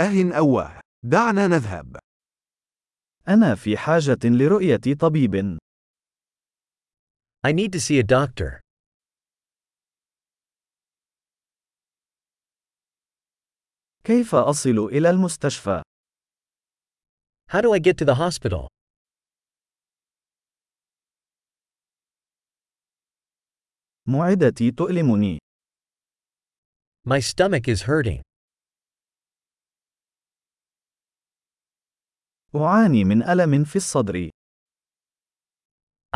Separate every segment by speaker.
Speaker 1: أهن أواه. أهٍ دعنا نذهب.
Speaker 2: أنا في حاجة لرؤية طبيب.
Speaker 3: I need to see a doctor.
Speaker 2: كيف أصل إلى المستشفى؟
Speaker 3: How do I get to the hospital?
Speaker 2: معدتي تؤلمني.
Speaker 3: My stomach is hurting.
Speaker 2: أعاني من ألم في الصدر.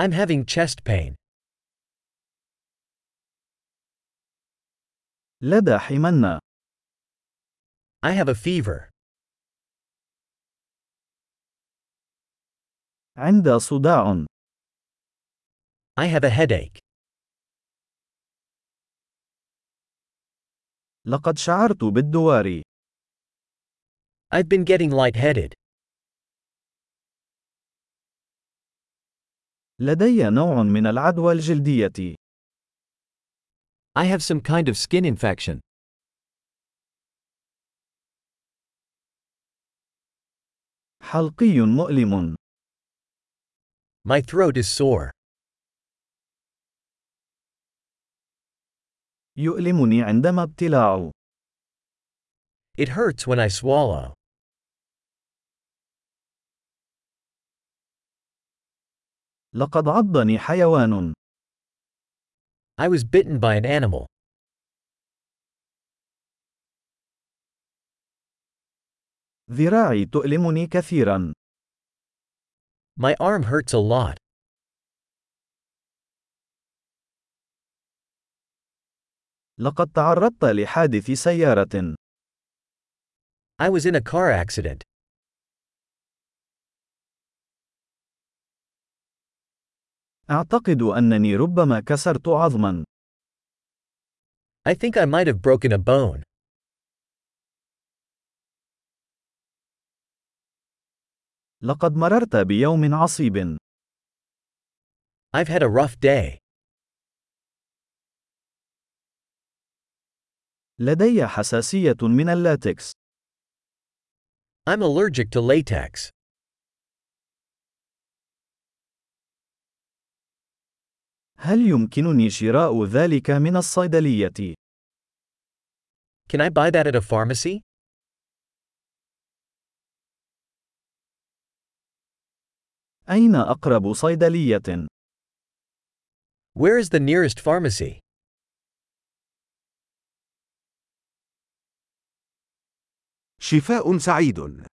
Speaker 3: I'm having chest pain.
Speaker 2: لدى حمنة.
Speaker 3: I have a fever.
Speaker 2: عند صداع.
Speaker 3: I have a headache.
Speaker 2: لقد شعرت بالدوار.
Speaker 3: I've been getting lightheaded.
Speaker 2: لدي نوع من العدوى الجلدية.
Speaker 3: I have some kind of skin infection.
Speaker 2: حلقي مؤلم.
Speaker 3: My throat is sore.
Speaker 2: يؤلمني عندما ابتلاع.
Speaker 3: It hurts when I swallow.
Speaker 2: لقد عضني حيوان.
Speaker 3: I was bitten by an animal.
Speaker 2: ذراعي تؤلمني كثيرا.
Speaker 3: My arm hurts a lot.
Speaker 2: لقد تعرضت لحادث سيارة.
Speaker 3: I was in a car accident.
Speaker 2: أعتقد أنني ربما كسرت عظما.
Speaker 3: I think I might have broken a bone.
Speaker 2: لقد مررت بيوم عصيب.
Speaker 3: I've had a rough day.
Speaker 2: لدي حساسية من اللاتكس.
Speaker 3: I'm allergic to latex.
Speaker 2: هل يمكنني شراء ذلك من الصيدلية؟
Speaker 3: Can I buy that at a pharmacy?
Speaker 2: أين أقرب صيدلية؟
Speaker 3: Where is the nearest pharmacy?
Speaker 1: شفاء سعيد.